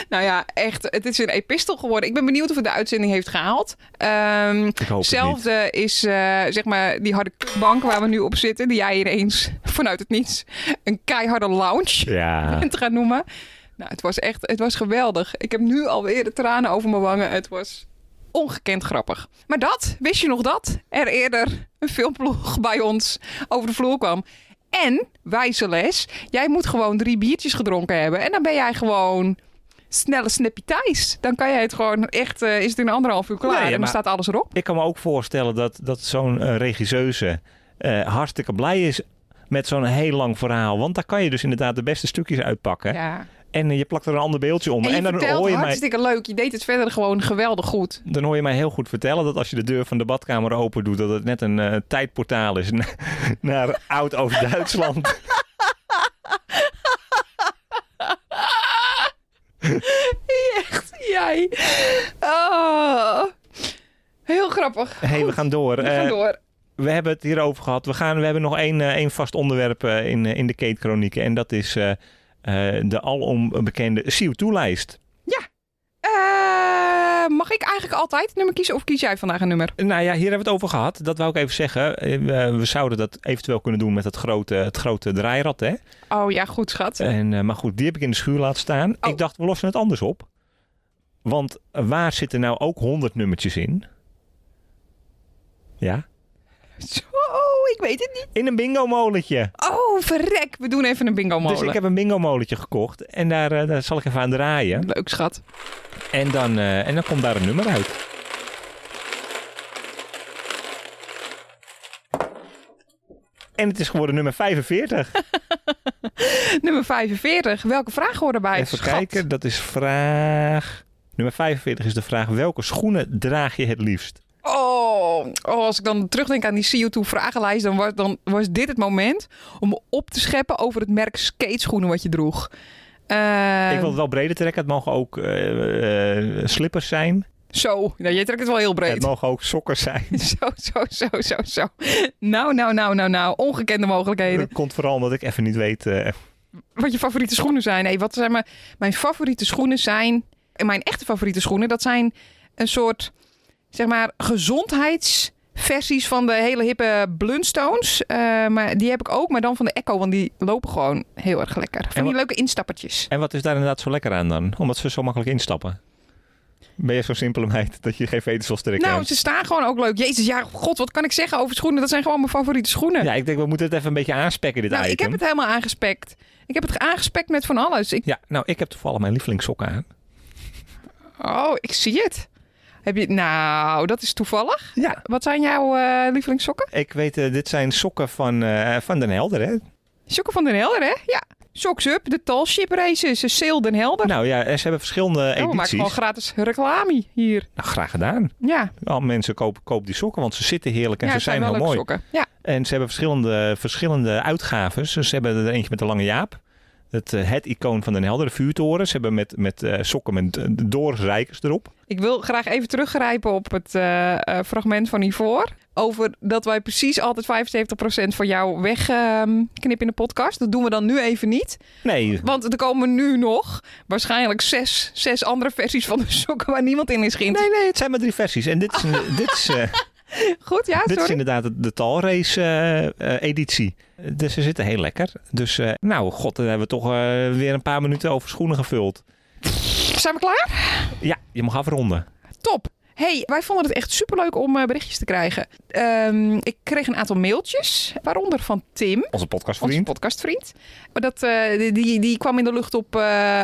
S3: nou ja, echt, het is een epistel geworden. Ik ben benieuwd of het de uitzending heeft gehaald. Ehm,
S2: Ik hoop het niet.
S3: Hetzelfde is eh, zeg maar die harde bank waar we nu op zitten. Die jij ineens vanuit het niets een keiharde lounge
S2: Ja,
S3: bent gaan noemen. Nou, het was echt, het was geweldig. Ik heb nu alweer de tranen over mijn wangen. Het was ongekend grappig. Maar dat, wist je nog dat? Er eerder een filmploeg bij ons over de vloer kwam. En, wijze les, jij moet gewoon drie biertjes gedronken hebben. En dan ben jij gewoon snelle snappy Thijs. Dan kan jij het gewoon echt, eh, is het in anderhalf uur klaar.
S2: Nee,
S3: en dan
S2: maar-
S3: staat alles erop.
S2: ik kan me ook voorstellen dat, dat zo'n eh, regisseuse eh, hartstikke blij is met zo'n heel lang verhaal. Want daar kan je dus inderdaad de beste stukjes uitpakken.
S3: Ja.
S2: En eh, je plakt er een ander beeldje onder.
S3: En je
S2: en dan
S3: vertelt
S2: hoor je, mij,
S3: hartstikke leuk. Je deed het verder gewoon geweldig goed.
S2: dan hoor je mij heel goed vertellen dat als je de deur van de badkamer open doet, dat het net een eh, tijdportaal is na- naar oud Oost-Duitsland.
S3: Ah! Echt, jij. Oh. Heel grappig.
S2: Hé, hey, we gaan door.
S3: We gaan
S2: Eh,
S3: door.
S2: we hebben het hierover gehad. We, gaan, we hebben nog één, eh, één vast onderwerp eh, in, eh, in de Kate-chronieken. En dat is eh, eh, de alom bekende CO2-lijst.
S3: Eh, mag ik eigenlijk altijd een nummer kiezen of kies jij vandaag een nummer?
S2: Nou ja, hier hebben we het over gehad. Dat wou ik even zeggen. Eh, We, we zouden dat eventueel kunnen doen met het grote, het grote draairad. Hè?
S3: Oh ja, goed schat.
S2: En, eh, maar goed, die heb ik in de schuur laten staan.
S3: Oh.
S2: Ik dacht, we lossen het anders op. Want waar zitten nou ook 100 nummertjes in? Ja.
S3: Zo, ik weet het niet.
S2: In een bingo molentje.
S3: Oh, verrek. We doen even een bingo molen.
S2: Dus ik heb een bingo molentje gekocht. En daar, eh, daar zal ik even aan draaien.
S3: Leuk schat.
S2: En dan, eh, en dan komt daar een nummer uit. En het is geworden nummer 45.
S3: Nummer 45. Welke vraag hoort erbij?
S2: Even
S3: schat?
S2: kijken, dat is vraag. Nummer 45 is de vraag: welke schoenen draag je het liefst?
S3: Oh, oh, als ik dan terugdenk aan die CO2-vragenlijst, dan was, dan was dit het moment om op te scheppen over het merk skateschoenen wat je droeg. Eh,
S2: ik wil het wel breder trekken. Het mogen ook eh, eh, slippers zijn.
S3: Zo, nou, jij trekt het wel heel
S2: Het
S3: breed.
S2: mogen ook sokken zijn.
S3: Zo, zo, zo, zo, zo. Nou, nou, nou, nou, nou. Ongekende mogelijkheden.
S2: Dat komt vooral omdat ik even niet weet. eh,
S3: Wat je favoriete schoenen zijn. Nee, wat zijn mijn, mijn favoriete schoenen zijn... en Mijn echte favoriete schoenen, dat zijn een soort... zeg maar, gezondheidsversies van de hele hippe Blundstones. Eh, maar die heb ik ook, maar dan van de Echo. Want die lopen gewoon heel erg lekker. Van die
S2: wat-
S3: leuke instappertjes.
S2: en wat is daar inderdaad zo lekker aan dan? Omdat ze zo makkelijk instappen. Ben je zo'n simpele meid dat je geen veters trekt?
S3: Nou, ze staan gewoon ook leuk. Jezus, ja, god, wat kan ik zeggen over schoenen? Dat zijn gewoon mijn favoriete schoenen.
S2: Ja, ik denk we moeten het even een beetje aanspekken, dit
S3: nou,
S2: item.
S3: ik heb het helemaal aangespekt. Ik heb het aangespekt met van alles. Ik
S2: Ja, nou, ik heb toevallig mijn lievelingssokken aan.
S3: Oh, ik zie het. Heb je... Nou, dat is toevallig.
S2: Ja.
S3: Wat zijn jouw eh, lievelingssokken?
S2: Ik weet, eh, dit zijn sokken van, eh, van Den Helder, hè?
S3: Oh. Sokken van Den Helder, hè? Ja. Socks Up, de Talship Races, de Sale Den Helder.
S2: Nou ja, en ze hebben verschillende
S3: oh, we maken
S2: edities.
S3: gewoon gratis reclame hier.
S2: Nou, graag gedaan.
S3: Ja,
S2: Al mensen kopen koop die sokken, want ze zitten heerlijk en
S3: ja
S2: ze
S3: het
S2: zijn,
S3: wel
S2: heel
S3: leuke
S2: mooi.
S3: sokken. Ja.
S2: En ze hebben verschillende, verschillende uitgaves. Dus ze hebben er eentje met de lange jaap. Het, eh, het icoon van Den Helder, de vuurtoren. Ze hebben met, met eh, sokken met eh, Doris Rijkers erop.
S3: Ik wil graag even teruggrijpen op het eh, eh, fragment van hiervoor. Over dat wij precies altijd 75% van jou wegknippen knippen in de podcast. Dat doen we dan nu even niet.
S2: Nee,
S3: Want er komen nu nog waarschijnlijk zes, zes andere versies van de sokken waar niemand in is geïnteresseerd.
S2: nee, nee, het zijn maar drie versies. En dit is, een- dit is, eh,
S3: Goed, ja,
S2: dit is
S3: Ah. sorry.
S2: inderdaad de, de talrace eh, eh, editie. Dus ze zitten heel lekker. Dus eh, nou, god, dan hebben we toch eh, weer een paar minuten over schoenen gevuld.
S3: Zijn we klaar?
S2: Ja, je mag afronden.
S3: Top. Hey, wij vonden het echt superleuk om eh, berichtjes te krijgen. Ehm, ik kreeg een aantal mailtjes, waaronder van Tim.
S2: Onze
S3: Onze
S2: podcastvriend.
S3: podcastvriend. Maar dat, eh, die- die, die kwam in de lucht op eh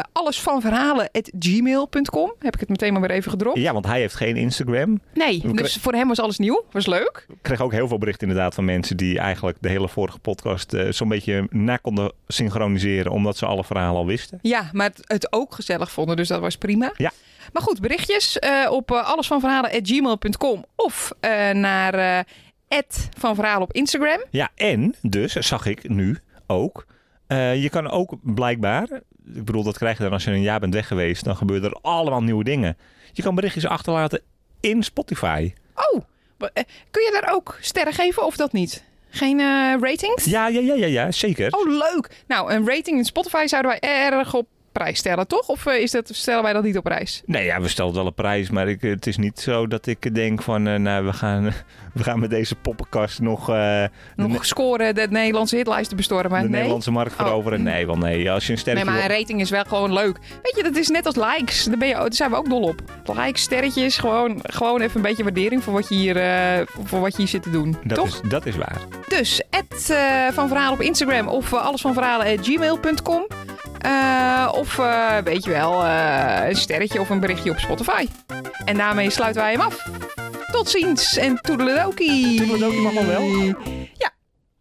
S3: allesvanverhalen.gmail.com. Heb ik het meteen maar weer even gedropt.
S2: Ja, want hij heeft geen Instagram.
S3: Nee,
S2: We
S3: dus voor hem was alles nieuw. Was leuk.
S2: Ik kreeg ook heel veel berichten inderdaad van mensen die eigenlijk de hele vorige podcast eh, zo'n beetje na konden synchroniseren. Omdat ze alle verhalen al wisten.
S3: Ja, maar het, het ook gezellig vonden, dus dat was prima.
S2: Ja.
S3: Maar goed, berichtjes eh, op eh, allesvanverhalen.gmail.com of eh, naar eh van verhalen op Instagram.
S2: Ja, en dus zag ik nu ook. eh, je kan ook blijkbaar. Ik bedoel, dat krijg je dan als je een jaar bent weg geweest. Dan gebeuren er allemaal nieuwe dingen. Je kan berichtjes achterlaten in Spotify.
S3: Oh, wa- eh, kun je daar ook sterren geven of dat niet? Geen eh, ratings?
S2: Ja, ja, ja, ja, ja zeker.
S3: Oh, leuk. Nou, een rating in Spotify zouden wij erg op prijs stellen, toch? Of eh, is dat, stellen wij dat niet op prijs?
S2: Nee, ja, we stellen wel een prijs. Maar ik, het is niet zo dat ik denk van. eh, nou, we gaan, we gaan met deze poppenkast nog. eh, de,
S3: Nog
S2: ne-
S3: scoren de Nederlandse hitlijsten bestormen.
S2: de
S3: nee. Oh.
S2: Nederlandse markt veroveren. Nee, wel nee. Als je een
S3: Nee,
S2: sterretje.
S3: maar
S2: wil-
S3: een rating is wel gewoon leuk. Weet je, dat is net als likes. Daar, ben je, daar zijn we ook dol op. Likes, sterretjes, gewoon, gewoon even een beetje waardering voor wat je hier, eh, voor wat je hier zit te doen.
S2: dat,
S3: toch?
S2: Is, dat is waar.
S3: Dus, at, eh, van verhalen op Instagram of eh, alles van verhalen gmail.com. of eh, weet je wel, eh, een sterretje of een berichtje op Spotify. En daarmee sluiten wij hem af. Tot ziens en toedeledokie.
S2: Toedeledokie mag wel wel.